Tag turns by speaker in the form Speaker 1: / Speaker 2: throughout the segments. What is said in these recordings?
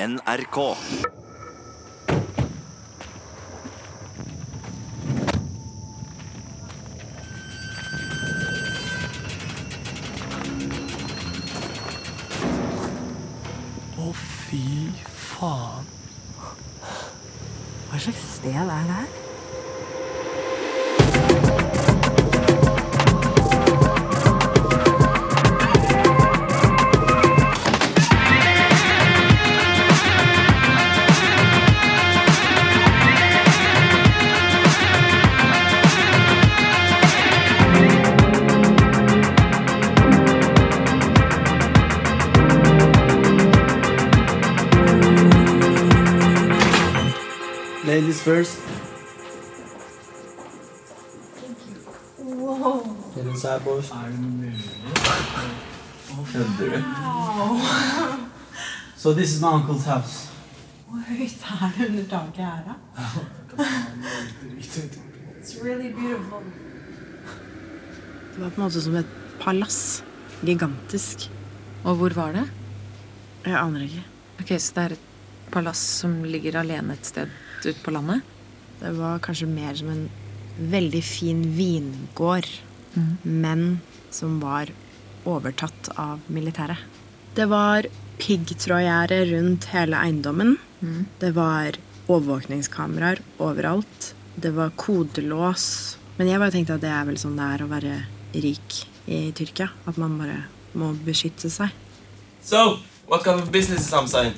Speaker 1: NRK.
Speaker 2: Å, fy faen.
Speaker 3: Hva slags sted er det her?
Speaker 2: Ladies first. Wow. Inside, boys. Skjønner du? So this is my uncle's house.
Speaker 4: Hvor høyt er det under taket her, da? It's really beautiful.
Speaker 3: Det var på en måte som et palass. Gigantisk.
Speaker 5: Og hvor var det?
Speaker 3: Jeg aner ikke.
Speaker 5: Ok, Så det er et palass som ligger alene et sted ute på landet?
Speaker 3: Det var kanskje mer som en veldig fin vingård, men som var overtatt av militæret. Det var piggtrådgjerde rundt hele eiendommen. Det var overvåkningskameraer overalt. Det var kodelås. Men jeg bare tenkte at det er vel sånn det er å være rik i Tyrkia. At man bare må beskytte seg.
Speaker 6: So, what kind of business is Hamstein?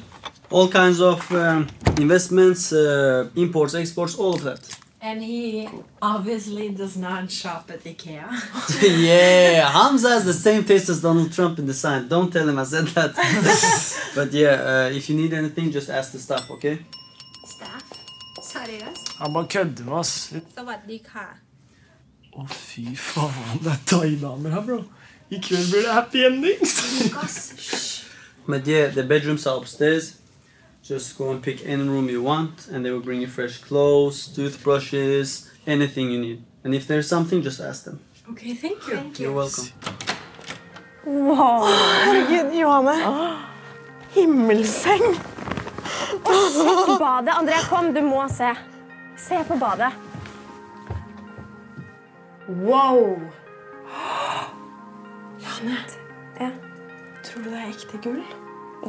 Speaker 2: All kinds of um, investments, uh, imports, exports, all of that.
Speaker 4: And he obviously does not shop at Ikea.
Speaker 2: yeah, Hamza has the same taste as Donald Trump in the sign. Don't tell him I said that. but yeah, uh, if you need anything, just ask the staff, okay?
Speaker 7: Staff? Seriøst?
Speaker 8: Han bare kødder med oss. Å,
Speaker 7: สวัสดีค่ะ
Speaker 8: fy faen. Det er thaidamer her, bro. I kveld blir det happy endings.
Speaker 2: But yeah, the bedrooms are upstairs. Just go and pick any room you want, and they will bring you fresh clothes, toothbrushes, anything you need. And if there's something, just ask them.
Speaker 4: Okay, thank you. Thank
Speaker 2: You're welcome.
Speaker 9: Herregud, Johanne. Himmelseng. Sjekk badet. Andrea, kom, du må se. Se på badet.
Speaker 4: Wow!
Speaker 9: Tror du det er ekte gull?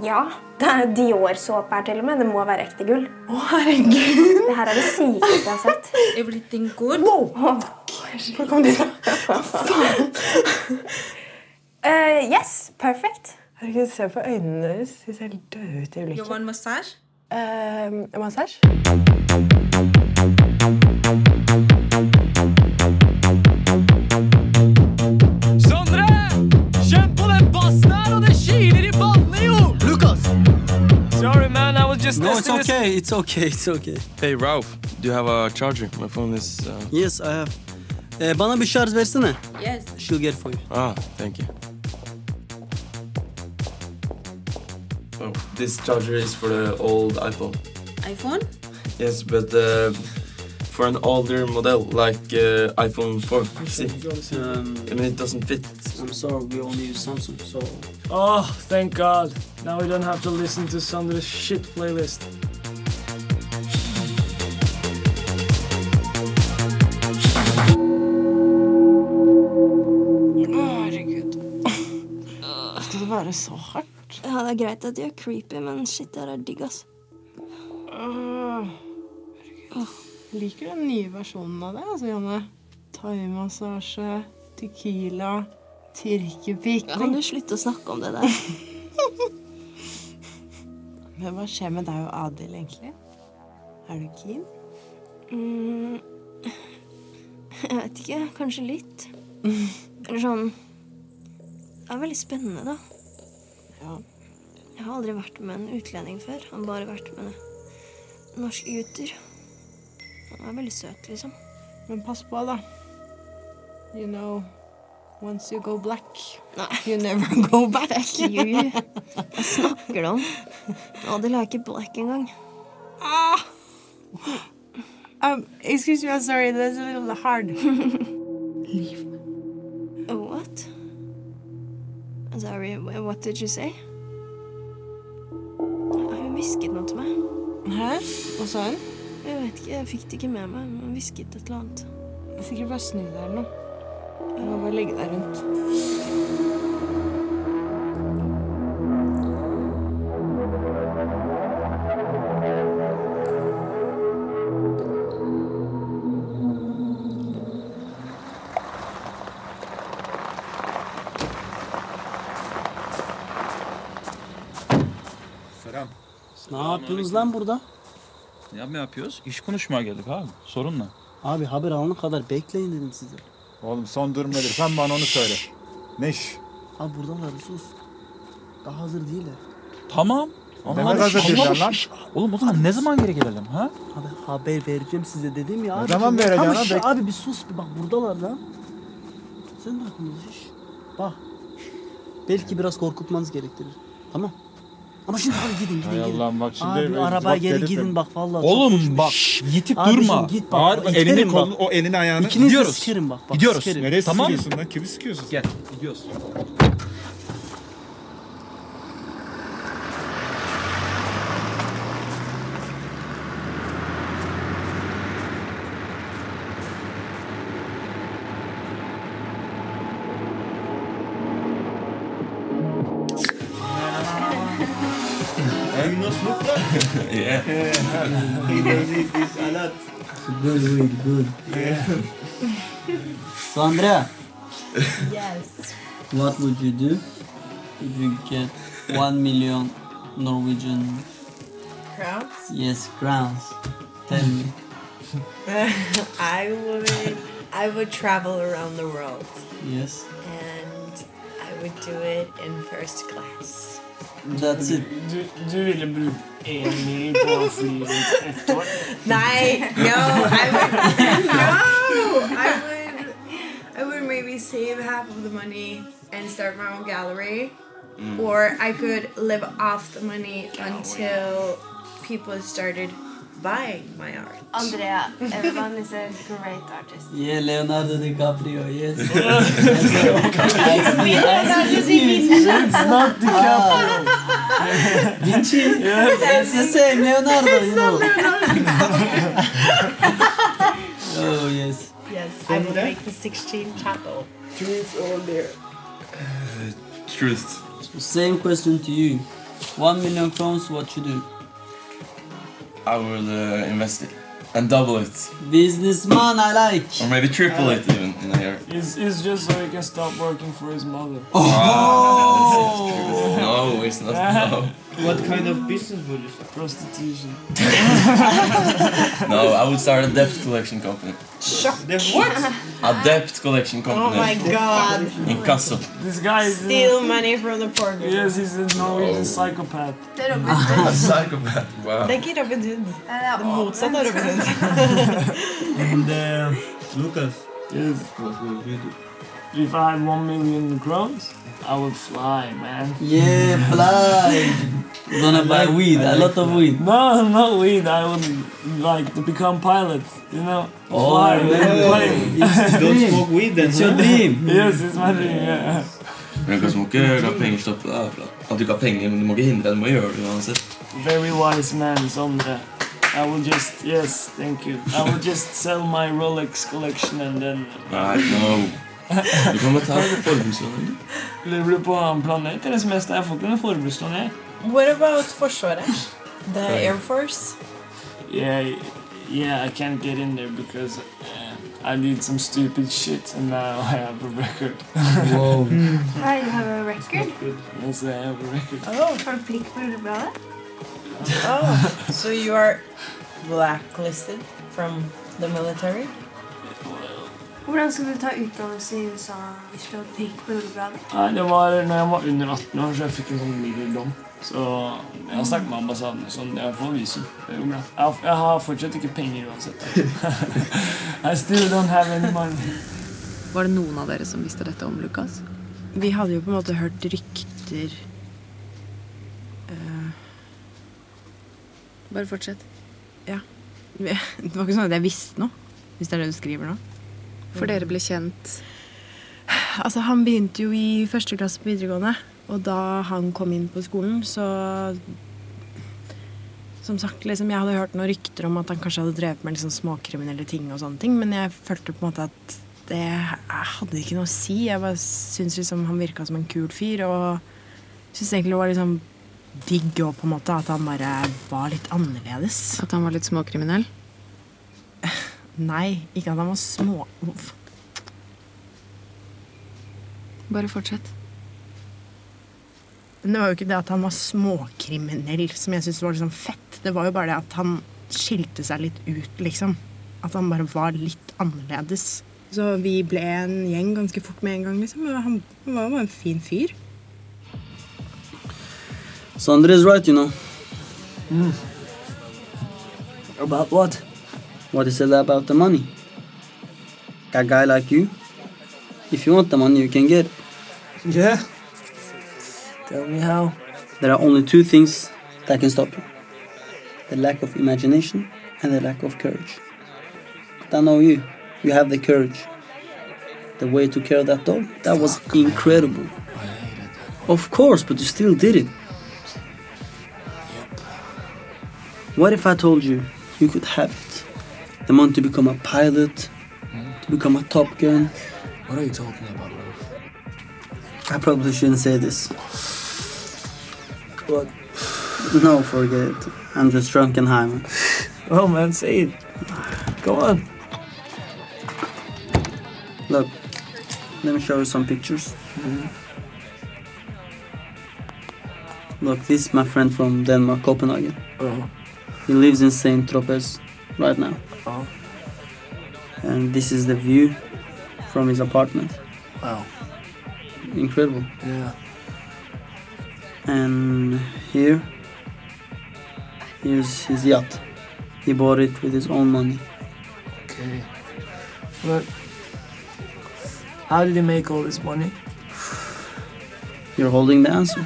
Speaker 9: Ja. Det er Dior-såpe her til og med. Det må være ekte gull. Å, herregud. Det her er det sykeste jeg har sett.
Speaker 5: Everything good?
Speaker 9: Hvor kom de fra? Eh, yes, perfect.
Speaker 10: Herregud, se på øynene deres. De ser helt døde ut i
Speaker 5: You
Speaker 10: blikket.
Speaker 5: want massage?
Speaker 10: Eh, massasje?
Speaker 8: Sondre! Kjenn på den bassen her, og det kiler i ballene, jo! Lucas! Sorry, man. I was just
Speaker 2: No, it's
Speaker 8: testing this-
Speaker 2: okay. It's okay. It's okay.
Speaker 6: Hey Ralph, do you have a charger? My phone is... Uh...
Speaker 2: Yes, I have. Eh, bana bir şarj versene.
Speaker 5: Yes.
Speaker 2: She'll get it for you.
Speaker 6: Ah, thank you. Oh, this charger is for the old iPhone.
Speaker 5: iPhone?
Speaker 6: Yes, but uh, for an older model like uh, iPhone 4. See,
Speaker 2: Um,
Speaker 6: I mean it doesn't fit.
Speaker 2: I'm sorry, we only use Samsung, so...
Speaker 8: Oh, thank God. Now we don't have to listen to Sondre's shit playlist.
Speaker 10: Skal det være så hardt?
Speaker 7: Ja, det er greit at de er creepy, men shit, det her er digg, ass.
Speaker 10: Liker den nye versjonen av det, altså, Janne. Thaimassasje, tequila,
Speaker 7: Kan
Speaker 10: tyrkepiking.
Speaker 7: du slutte å snakke om det der?
Speaker 10: Men hva skjer med deg og Adil, egentlig? Er du keen?
Speaker 7: Mm, jeg vet ikke. Kanskje litt. Eller sånn Det er veldig spennende, da.
Speaker 10: Ja.
Speaker 7: Jeg har aldri vært med en utlending før. Jeg har bare vært med en norsk gutter. Han er veldig søt, liksom.
Speaker 10: Men pass på, da. You know, once you go black,
Speaker 7: Nei.
Speaker 10: you never go back.
Speaker 7: You. Hva snakker du om? Adil er ikke black engang.
Speaker 10: Um, excuse me, I'm sorry, that's a little hard.
Speaker 7: What? Sorry, wh- what did you say? Hun hvisket noe til meg.
Speaker 10: Hæ? Hva sa hun?
Speaker 7: Jeg vet ikke, jeg fikk det ikke med meg, men hun hvisket et eller annet.
Speaker 10: Sikkert bare snu deg eller noe. Jeg må bare legge deg rundt.
Speaker 1: Selam.
Speaker 2: Ne yapıyorsunuz lan burada?
Speaker 1: Ya ne yapıyoruz? İş konuşmaya geldik abi. Sorun ne?
Speaker 2: Abi haber alana kadar bekleyin dedim size.
Speaker 1: Oğlum son durum nedir? Sen bana onu söyle. Ne iş?
Speaker 2: Abi buradalar sus. Daha hazır değiller.
Speaker 1: Tamam.
Speaker 2: Ne var hazır
Speaker 1: Allah,
Speaker 2: değiller
Speaker 1: Allah.
Speaker 2: lan?
Speaker 1: Oğlum o zaman ne zaman geri gelelim ha?
Speaker 2: Abi haber vereceğim size dedim ya.
Speaker 1: Ne
Speaker 2: abi.
Speaker 1: zaman vereceksin
Speaker 2: Tamam
Speaker 1: lan?
Speaker 2: şu-
Speaker 1: Bek-
Speaker 2: Abi bir sus bir bak buradalar lan. Sen de aklınız iş. Bak. Belki biraz korkutmanız gerektirir. Tamam. Ama şimdi abi gidin gidin
Speaker 1: Hay
Speaker 2: gidin.
Speaker 1: Allah'ım bak şimdi
Speaker 2: Abi
Speaker 1: bak
Speaker 2: arabaya geri
Speaker 1: dedim.
Speaker 2: gidin bak vallahi. çok
Speaker 1: Oğlum
Speaker 2: konuşmuş.
Speaker 1: bak yitip
Speaker 2: Abicim
Speaker 1: durma.
Speaker 2: git bak.
Speaker 1: Ağır-
Speaker 2: İterim
Speaker 1: elini
Speaker 2: bak.
Speaker 1: kolunu o elini ayağını.
Speaker 2: İkiniz de
Speaker 1: Gidiyoruz.
Speaker 2: sikerim bak, bak,
Speaker 1: Gidiyoruz.
Speaker 2: sikerim.
Speaker 1: Nereye tamam.
Speaker 2: sikiyorsun
Speaker 1: lan? Kimi sikiyorsun? Gel gidiyoruz.
Speaker 6: Yeah.
Speaker 2: Good, good, good. Sandra,
Speaker 4: Yes.
Speaker 2: what would you do if you get one million Norwegian
Speaker 4: Crowns?
Speaker 2: yes crowns? Tell me.
Speaker 4: I would I would travel around the world
Speaker 2: Yes,
Speaker 4: and I would do it in first class.
Speaker 2: that's it.
Speaker 11: Du, du ville brukt én mil på å fly rundt ett år?
Speaker 4: Nei, no, I would no, I would I would maybe save half of the money and start my own gallery,
Speaker 12: Mm.
Speaker 4: or I could live off the money until people started buying my art.
Speaker 9: Andrea, everyone is a great artist.
Speaker 2: Yeah, Leonardo DiCaprio, yes.
Speaker 9: Leonardo
Speaker 2: Leonardo
Speaker 9: DiCaprio.
Speaker 2: It's not DiCaprio. Ah. Vinci. It's the same, Leonardo, you know. oh, yes.
Speaker 4: Yes, I would make the 16 chapel. Truth or dare?
Speaker 2: Truth. Same question to you. One million crowns, what you do?
Speaker 6: I would uh, invest it and double it,
Speaker 2: Businessman, I like.
Speaker 6: or maybe triple it even in a year.
Speaker 11: It's, it's just so he can stop working for his mother.
Speaker 6: Oh. No, it's not. No.
Speaker 11: What kind of business would you start? Prostitution.
Speaker 6: No, I would start a debt collection company.
Speaker 4: What?
Speaker 6: A debt collection company.
Speaker 4: Oh my god.
Speaker 6: Inkasso.
Speaker 11: This guy is
Speaker 4: Steal money from the poor girl.
Speaker 11: Yes, he's a Norwegian psychopath.
Speaker 6: A psychopath. Wow.
Speaker 4: Det er ikke Robin Hood. Det motsatte av Robin Hood.
Speaker 11: And uh, Lucas. Yes. What will you do? If I had one million crowns, I would fly, man.
Speaker 2: Yeah, fly. You're gonna buy weed, a lot of weed.
Speaker 11: No, not weed. I would like to become pilot. You know,
Speaker 2: Oh,
Speaker 11: fly in
Speaker 2: man.
Speaker 11: a plane.
Speaker 2: It's your Don't dream. smoke weed then, It's your huh? dream.
Speaker 11: yes, it's my dream. Yeah.
Speaker 6: Men du må ikke la penger stoppe deg. for at- At du ikke har penger, men du må ikke hindre deg. Du må gjøre det uansett.
Speaker 11: Very wise man, Sondre. I will just yes, thank you. I will just sell my Rolex collection and then.
Speaker 6: Nei, no. Du kan bare ta et forbrukslån. eller?
Speaker 11: Lurer du på en planet eller semester? Jeg får ikke noe forbrukslån, jeg.
Speaker 4: What about Forsvaret? The
Speaker 11: Hey.
Speaker 4: Air Force?
Speaker 11: Yeah, yeah, I can't get in there because uh, I did some stupid shit and now I have a record.
Speaker 2: Whoa.
Speaker 9: I have a record.
Speaker 11: yes, I have a record.
Speaker 9: Oh, for pink brudebladet.
Speaker 4: Oh, so you are blacklisted from the military?
Speaker 9: Hvordan skulle du ta utdannelse i USA hvis du hadde pink brudebladet?
Speaker 11: Nei, det var når jeg var under 18 år, så jeg fikk en sånn middel dom. Så jeg har snakket med ambassaden, og sånn, jeg får visum. Det går bra. Jeg har- Jeg har fortsatt ikke penger uansett. I still don't have any money.
Speaker 5: Var det noen av dere som visste dette om Lukas?
Speaker 3: Vi hadde jo på en måte hørt rykter eh,
Speaker 5: Bare fortsett.
Speaker 3: Ja. Det var ikke sånn at jeg visste noe, hvis det er det du skriver nå.
Speaker 5: For dere ble kjent
Speaker 3: Altså, han begynte jo i første klasse på videregående, og da han kom inn på skolen, så Som sagt, liksom, Jeg hadde hørt noen rykter om at han kanskje hadde drevet med liksom, småkriminelle ting, og sånne ting, men jeg følte på en måte at det hadde ikke noe å si. Jeg bare syntes liksom, han virka som en kul fyr, og syntes egentlig det var liksom digg òg, på en måte, at han bare var litt annerledes.
Speaker 13: At han var litt småkriminell?
Speaker 3: Nei, ikke at han var små... Uff.
Speaker 13: Bare fortsett.
Speaker 3: Men det var jo ikke det at han var småkriminell som jeg syntes var liksom fett. Det var jo bare det at han skilte seg litt ut, liksom. At han bare var litt annerledes. Så vi ble en gjeng ganske fort med en gang, liksom. Men Han han var jo bare en fin fyr.
Speaker 2: Sondre is right, you know.
Speaker 11: Hmm. About what?
Speaker 2: What he said about the money. A guy like you, if you want the money, you can get it.
Speaker 11: Yeah. Tell me how.
Speaker 2: There are only two things that can stop you the lack of imagination and the lack of courage. But I know you. You have the courage. The way to kill that dog, that was incredible. Of course, but you still did it. What if I told you you could have it? The money to become a pilot, to become a top gun.
Speaker 11: What are you talking about, Rolf?
Speaker 2: I probably shouldn't say this.
Speaker 11: What?
Speaker 2: No, forget it. I'm just drunk and high. man.
Speaker 11: Oh man, say it. Go on.
Speaker 2: Look, let me show you some pictures.
Speaker 11: Mm-hmm.
Speaker 2: Look, this is my friend from Denmark, Copenhagen.
Speaker 11: Oh.
Speaker 2: He lives in St. Tropez right now.
Speaker 11: Oh.
Speaker 2: And this is the view from his apartment.
Speaker 11: Wow.
Speaker 2: Incredible.
Speaker 11: Yeah.
Speaker 2: And here, here's his yacht. He bought it with his own money.
Speaker 11: Okay. But how did you make all this money?
Speaker 2: You're holding the answer.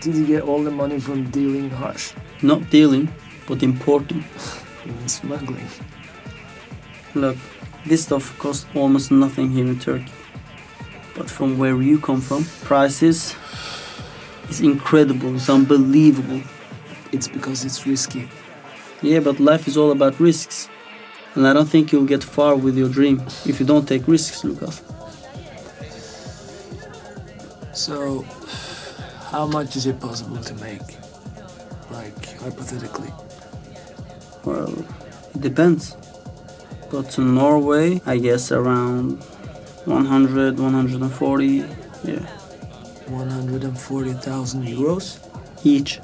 Speaker 11: Did you get all the money from dealing harsh?
Speaker 2: Not dealing, but importing.
Speaker 11: In smuggling.
Speaker 2: Look, this stuff costs almost nothing here in Turkey. But from where you come from, prices is incredible, it's unbelievable.
Speaker 11: It's because it's risky.
Speaker 2: Yeah, but life is all about risks. And I don't think you'll get far with your dream if you don't take risks, Lucas.
Speaker 11: So, how much is it possible to make? Like, hypothetically.
Speaker 2: Well, it depends. But to Norway, I guess around 100, 140, yeah.
Speaker 11: 140,000 euros?
Speaker 2: Each.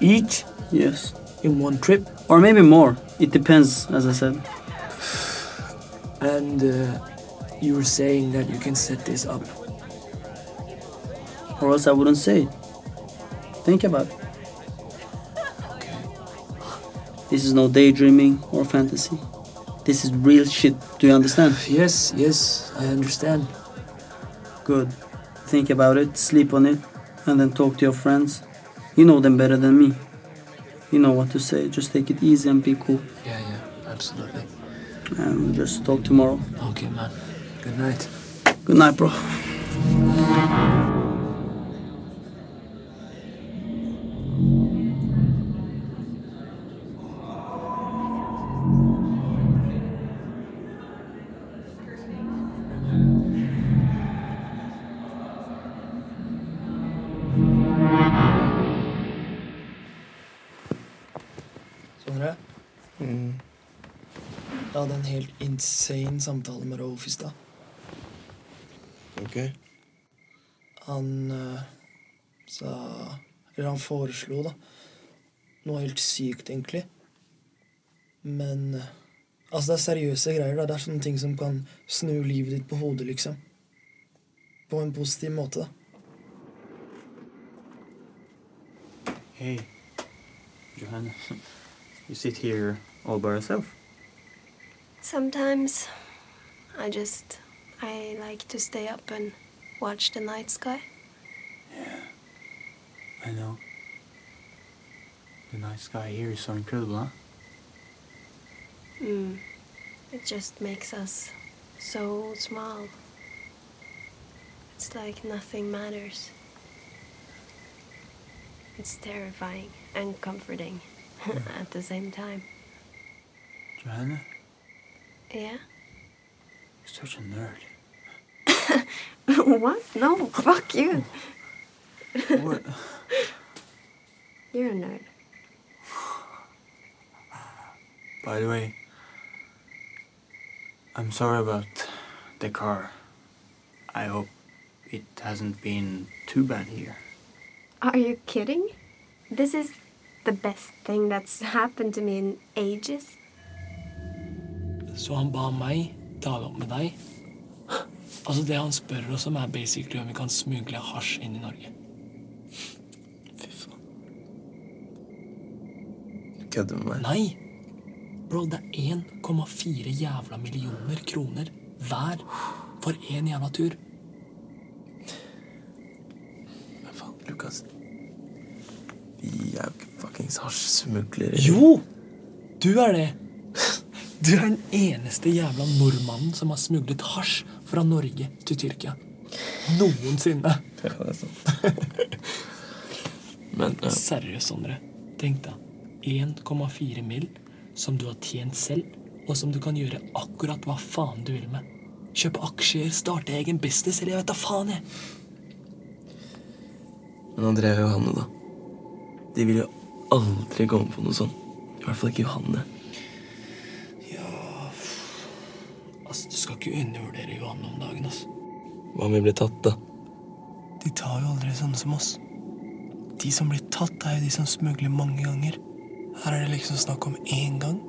Speaker 11: Each?
Speaker 2: Yes.
Speaker 11: In one trip?
Speaker 2: Or maybe more. It depends, as I said.
Speaker 11: And uh, you were saying that you can set this up.
Speaker 2: Or else I wouldn't say it. Think about it. This is no daydreaming or fantasy. This is real shit. Do you understand?
Speaker 11: Yes, yes, I understand.
Speaker 2: Good. Think about it, sleep on it, and then talk to your friends. You know them better than me. You know what to say. Just take it easy and be cool.
Speaker 11: Yeah, yeah, absolutely.
Speaker 2: And we'll just talk tomorrow.
Speaker 11: Okay, man. Good night.
Speaker 2: Good night, bro.
Speaker 11: Sondre? Jeg hadde en helt insane samtale med Rolf i stad.
Speaker 6: Ok.
Speaker 11: Han eh, sa Eller han foreslo, da. Noe helt sykt, egentlig. Men eh, Altså, det er seriøse greier. da. Det er sånne ting som kan snu livet ditt på hodet, liksom. På en positiv måte, da.
Speaker 14: Hey, Johanna, you sit here all by yourself.
Speaker 7: Sometimes I just I like to stay up and watch the night sky.
Speaker 14: I know. The night sky here is so incredible, huh?
Speaker 7: Mm. It just makes us so small. It's like nothing matters. It's terrifying and comforting at the same time.
Speaker 15: Johanna,
Speaker 7: Yeah?
Speaker 15: you're such a nerd.
Speaker 7: what? No, fuck you.
Speaker 15: What?
Speaker 7: You're a nerd.
Speaker 15: By the way, I'm sorry about the car. I hope it hasn't been too bad here.
Speaker 7: Are you kidding? This is the best thing that's happened to me in ages.
Speaker 11: Så han ba meg tale opp med deg. Altså Det han spør oss om, er basically om vi kan smugle hasj inn i Norge.
Speaker 6: Kødder du med meg?
Speaker 11: Nei! Bro, det er 1,4 jævla millioner kroner hver for én jævla tur.
Speaker 6: Men faen, Lukas. Vi er jo ikke fuckings hasjsmuglere.
Speaker 11: Jo! Du er det. Du er den eneste jævla nordmannen som har smuglet hasj fra Norge til Tyrkia. Noensinne.
Speaker 6: Ja, det er sant. Men ja.
Speaker 11: Seriøst, Sondre. Tenk deg. 1,4 mill. som du har tjent selv, og som du kan gjøre akkurat hva faen du vil med. Kjøpe aksjer, starte egen business, eller jeg vet da faen, jeg.
Speaker 6: Men Andrea og Johanne, da. De vil jo aldri komme på noe sånt. I hvert fall ikke Johanne.
Speaker 11: Altså, Du skal ikke undervurdere Johanne om dagen, ass.
Speaker 6: Hva om vi blir tatt, da?
Speaker 11: De tar jo aldri sånne som oss. De som blir tatt, er jo de som smugler mange ganger. Her er det liksom snakk om én gang,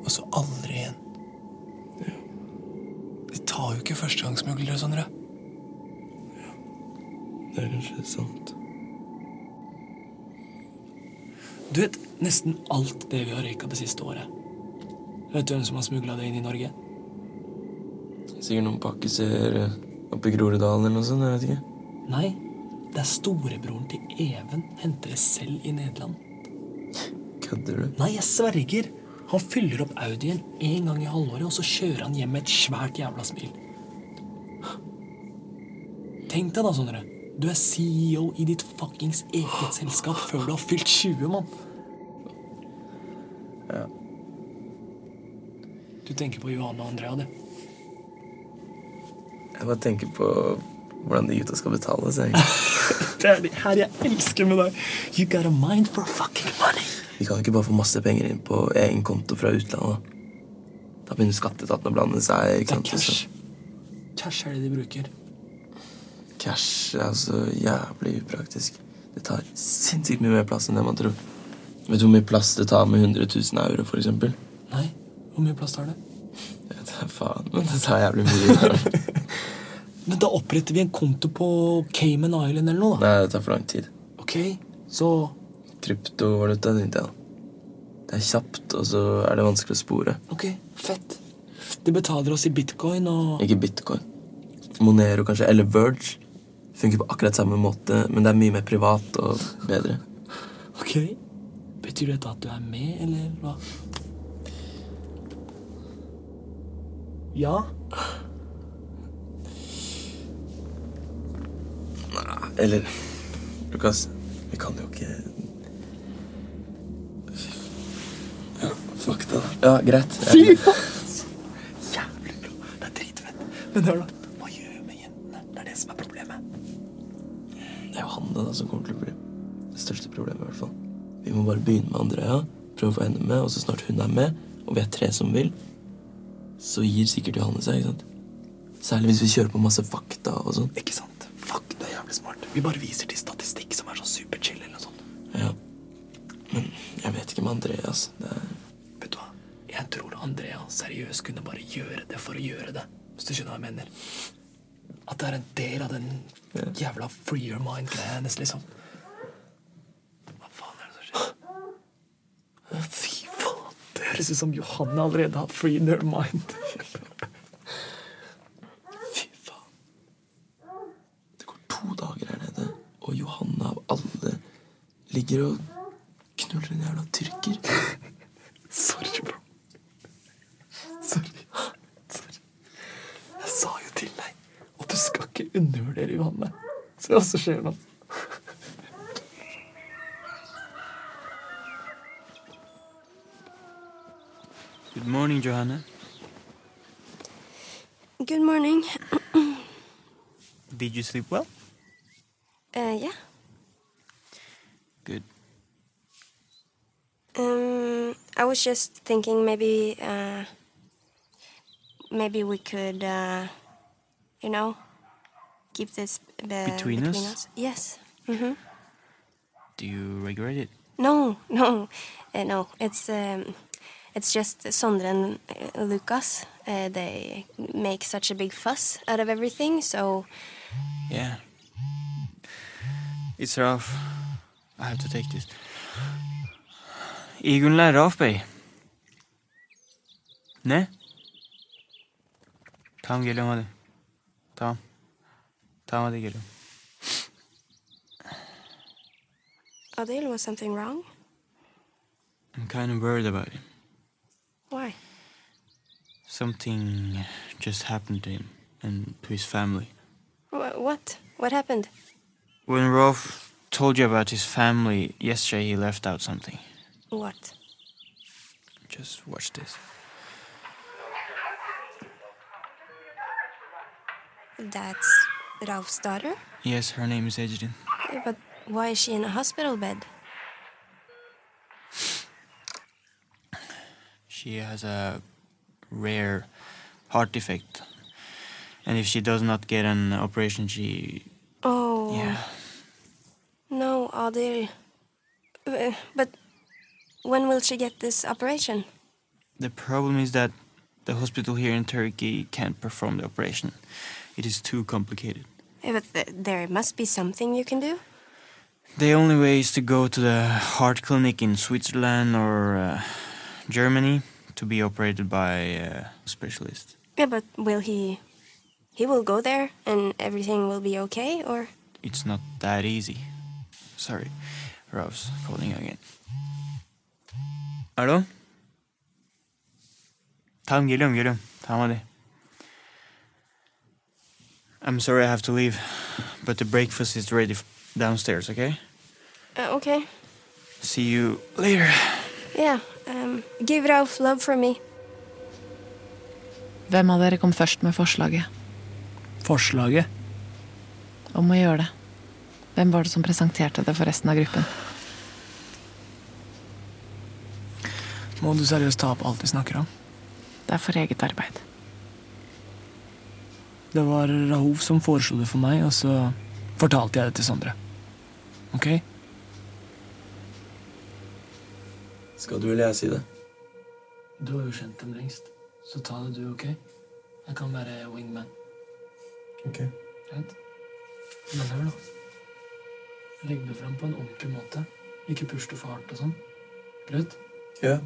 Speaker 11: og så aldri igjen. De tar jo ikke sånn, førstegangssmuglere, Sondre.
Speaker 6: Det er kanskje sant.
Speaker 11: Du vet nesten alt det vi har røyka det siste året. Vet du hvem som har smugla det inn i Norge?
Speaker 6: Sikkert noen pakkiser eh, oppe i Groruddalen eller noe sånt. jeg vet ikke.
Speaker 11: Nei, det er storebroren til Even henter det selv i Nederland.
Speaker 6: Kødder du?
Speaker 11: Nei, jeg sverger! Han fyller opp Audien én gang i halvåret, og så kjører han hjem med et svært jævla smil. Tenk deg da, Sondre. Du er CEO i ditt fuckings eget selskap før du har fylt 20, mann.
Speaker 6: Ja.
Speaker 11: Du tenker på Johanne og Andrea, du.
Speaker 6: Jeg bare tenker på hvordan de gutta skal betale seg. egentlig.
Speaker 11: Det er det her jeg elsker med deg. You got a mind for fucking money.
Speaker 6: Vi kan jo ikke bare få masse penger inn på egen konto fra utlandet. Da begynner skatteetaten å blande seg. ikke sant? Cash.
Speaker 11: Cash er det de bruker.
Speaker 6: sånn- cash er så jævlig upraktisk. Det tar sinnssykt mye mer plass enn det man tror. Vet du hvor mye plass det tar med 100 000 euro, for eksempel?
Speaker 11: Nei, hvor mye plass tar det?
Speaker 6: Det tar faen, men det tar jævlig mye.
Speaker 11: Men da oppretter vi en konto på Cayman Island eller noe, da.
Speaker 6: Nei, det tar for lang tid.
Speaker 11: Ok, så
Speaker 6: Kryptovaluta, tenkte jeg. Det er kjapt, og så er det vanskelig å spore.
Speaker 11: Ok, fett. De betaler oss i bitcoin og
Speaker 6: Ikke bitcoin. Monero kanskje, eller Verge. Funker på akkurat samme måte, men det er mye mer privat og bedre.
Speaker 11: Ok. Betyr dette at du er med, eller hva? Ja?
Speaker 6: Nei, Eller Lukas, vi kan jo ikke Ja, fuck det, da. Ja, greit.
Speaker 11: Fy
Speaker 6: Jeg-
Speaker 11: faen! Jævlig bra. Det er dritfett. Men hør, da. Hva gjør vi med jentene? Det er det som er problemet.
Speaker 6: Det er jo Hanne da som kommer til å bli det største problemet. i hvert fall. Vi må bare begynne med Andrea, prøve å få henne med, og så snart hun er med, og vi er tre som vil, så gir sikkert Johanne seg. ikke sant? Særlig hvis vi kjører på masse fakta og sånn.
Speaker 11: Ikke sant? Fuck, det er jævlig smart. Vi bare viser til statistikk som er sånn superchill eller noe sånt.
Speaker 6: Ja. Men jeg vet ikke med Andrea, altså. Det er
Speaker 11: Vet du hva? Jeg tror Andrea seriøst kunne bare gjøre det for å gjøre det. Hvis du skjønner hva jeg mener. At det er en del av den jævla free your mind-greia hennes, liksom. Hva faen er det som skjer? Å, fy faen! Det høres ut som Johanne allerede har free their mind.
Speaker 6: to dager her nede, og Johanne av alle ligger og knuller en jævla tyrker.
Speaker 11: Sorry, bro. Sorry. Sorry. Jeg sa jo til deg at du skal ikke undervurdere Johanne. Se hva som skjer nå. Good morning, Johanna.
Speaker 9: Good morning.
Speaker 11: Did you sleep well?
Speaker 9: Uh, yeah.
Speaker 11: Good.
Speaker 9: Um, I was just thinking maybe, uh, maybe we could, uh, you know, keep this be-
Speaker 11: Between us?
Speaker 9: Yes. hmm
Speaker 11: Do you regret it?
Speaker 9: No, no, uh, no. It's um, it's just Sondre and uh, Lucas. Uh, they make such a big fuss out of everything. So
Speaker 11: Yeah. It's rough. I have to take this. Egon lærer av Bey. Ne? Tamam geliyorum hadi. Tamam. Tamam hadi geliyorum.
Speaker 9: Adele was something wrong.
Speaker 11: I'm kind of worried about him.
Speaker 9: Why?
Speaker 11: Something just happened to him and to his family.
Speaker 9: Wh- what? What happened?
Speaker 11: When Rolf told you about his family yesterday, he left out something.
Speaker 9: What?
Speaker 11: Just watch this.
Speaker 9: That's Ralph's daughter.
Speaker 11: Yes, her name is Ejdin.
Speaker 9: Uh, But why is she in a hospital bed?
Speaker 11: She has a rare heart defect. And if she does not get an operation, she.
Speaker 9: Oh.
Speaker 11: Yeah.
Speaker 9: No, Adele. Uh, But when will she get this operation?
Speaker 11: The problem is that the hospital here in Turkey can't perform the operation. It is too complicated.
Speaker 9: Uh, But th- there must be something you can do.
Speaker 11: The only way is to go to the heart clinic in Switzerland or uh, Germany to be operated by uh, a specialist.
Speaker 9: Yeah, but will he? He will go there, and everything will be okay, or?
Speaker 11: It's not that easy. Sorry, Ralph's calling again. Alo? Tamam geliyorum geliyorum. Tamam hadi. I'm sorry I have to leave, but the breakfast is ready f- downstairs, okay?
Speaker 9: Uh, okay.
Speaker 11: See you later.
Speaker 9: Yeah. Um, give Ralph love from me.
Speaker 7: Hvem av dere kom først med forslaget
Speaker 6: Forslaget?
Speaker 7: om å gjøre det? Hvem var det som presenterte det for resten av gruppen?
Speaker 6: Må du seriøst ta opp alt vi snakker om?
Speaker 7: Det er for eget arbeid.
Speaker 6: Det var Rahov som foreslo det for meg, og så fortalte jeg det til Sondre. Ok?
Speaker 16: Skal du eller jeg si det?
Speaker 2: Du har jo kjent dem lengst, så ta det du, OK? Jeg kan være wingman.
Speaker 16: Ok.
Speaker 2: Greit? Men hør, da. Legg det fram på en ordentlig måte. Ikke push det for hardt og sånn. Greit?
Speaker 16: Ja.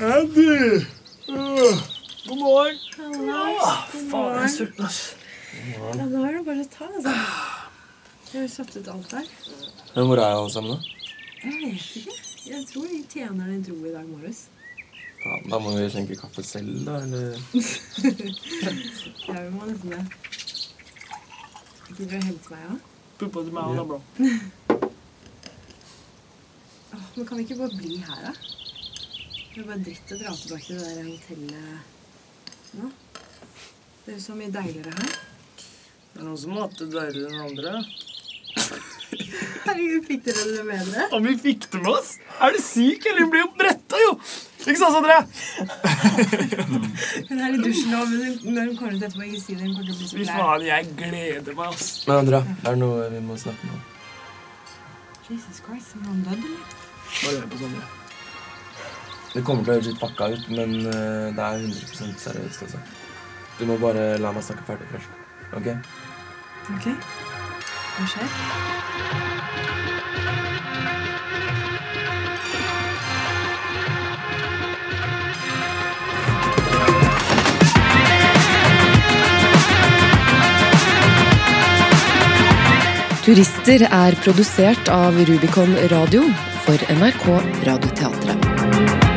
Speaker 2: Andy! God morgen.
Speaker 6: Ah,
Speaker 17: morgen.
Speaker 2: Faen, jeg er sulten, ass.
Speaker 3: Ja, nå er det bare å ta, altså. Jeg har satt ut alt her.
Speaker 6: Men hvor er alle sammen, da?
Speaker 3: Jeg vet ikke. Jeg tror de tjener den dro i dag morges.
Speaker 6: Ja, da må vi skjenke kaffe selv, da, eller
Speaker 3: ja, vi må nesten det. Gidder du å hente meg òg?
Speaker 2: Puppa til meg òg, da, bro.
Speaker 3: Men kan vi ikke bare bli her, da? Det er bare dritt å dra tilbake til det der hotellet nå. Det er jo så mye deiligere her.
Speaker 2: Det er noen som har hatt det deiligere enn andre.
Speaker 3: Herregud, fikk dere det med dere?
Speaker 2: Om vi fikk det med oss? Er du syk, eller? Hun blir jo bretta, jo! Ikke sant, Sondre?
Speaker 3: Hun er i dusjen nå, men hun- når hun kommer ut etterpå, ikke si det. Hun kommer til å bli så
Speaker 2: Fy
Speaker 3: glad.
Speaker 2: faen, jeg gleder meg, ass.
Speaker 6: Men Andrea, det er noe vi må snakke om.
Speaker 3: Jesus Christ, er han død, eller?
Speaker 2: Bare hør på Sondre.
Speaker 6: Det kommer til å høres litt fucka ut, men eh, det er 100 seriøst, altså. Du må bare la meg snakke ferdig først. Ok?
Speaker 3: Ok. Hva skjer?
Speaker 18: Turister er produsert av Rubicon Radio for NRK Radioteatret.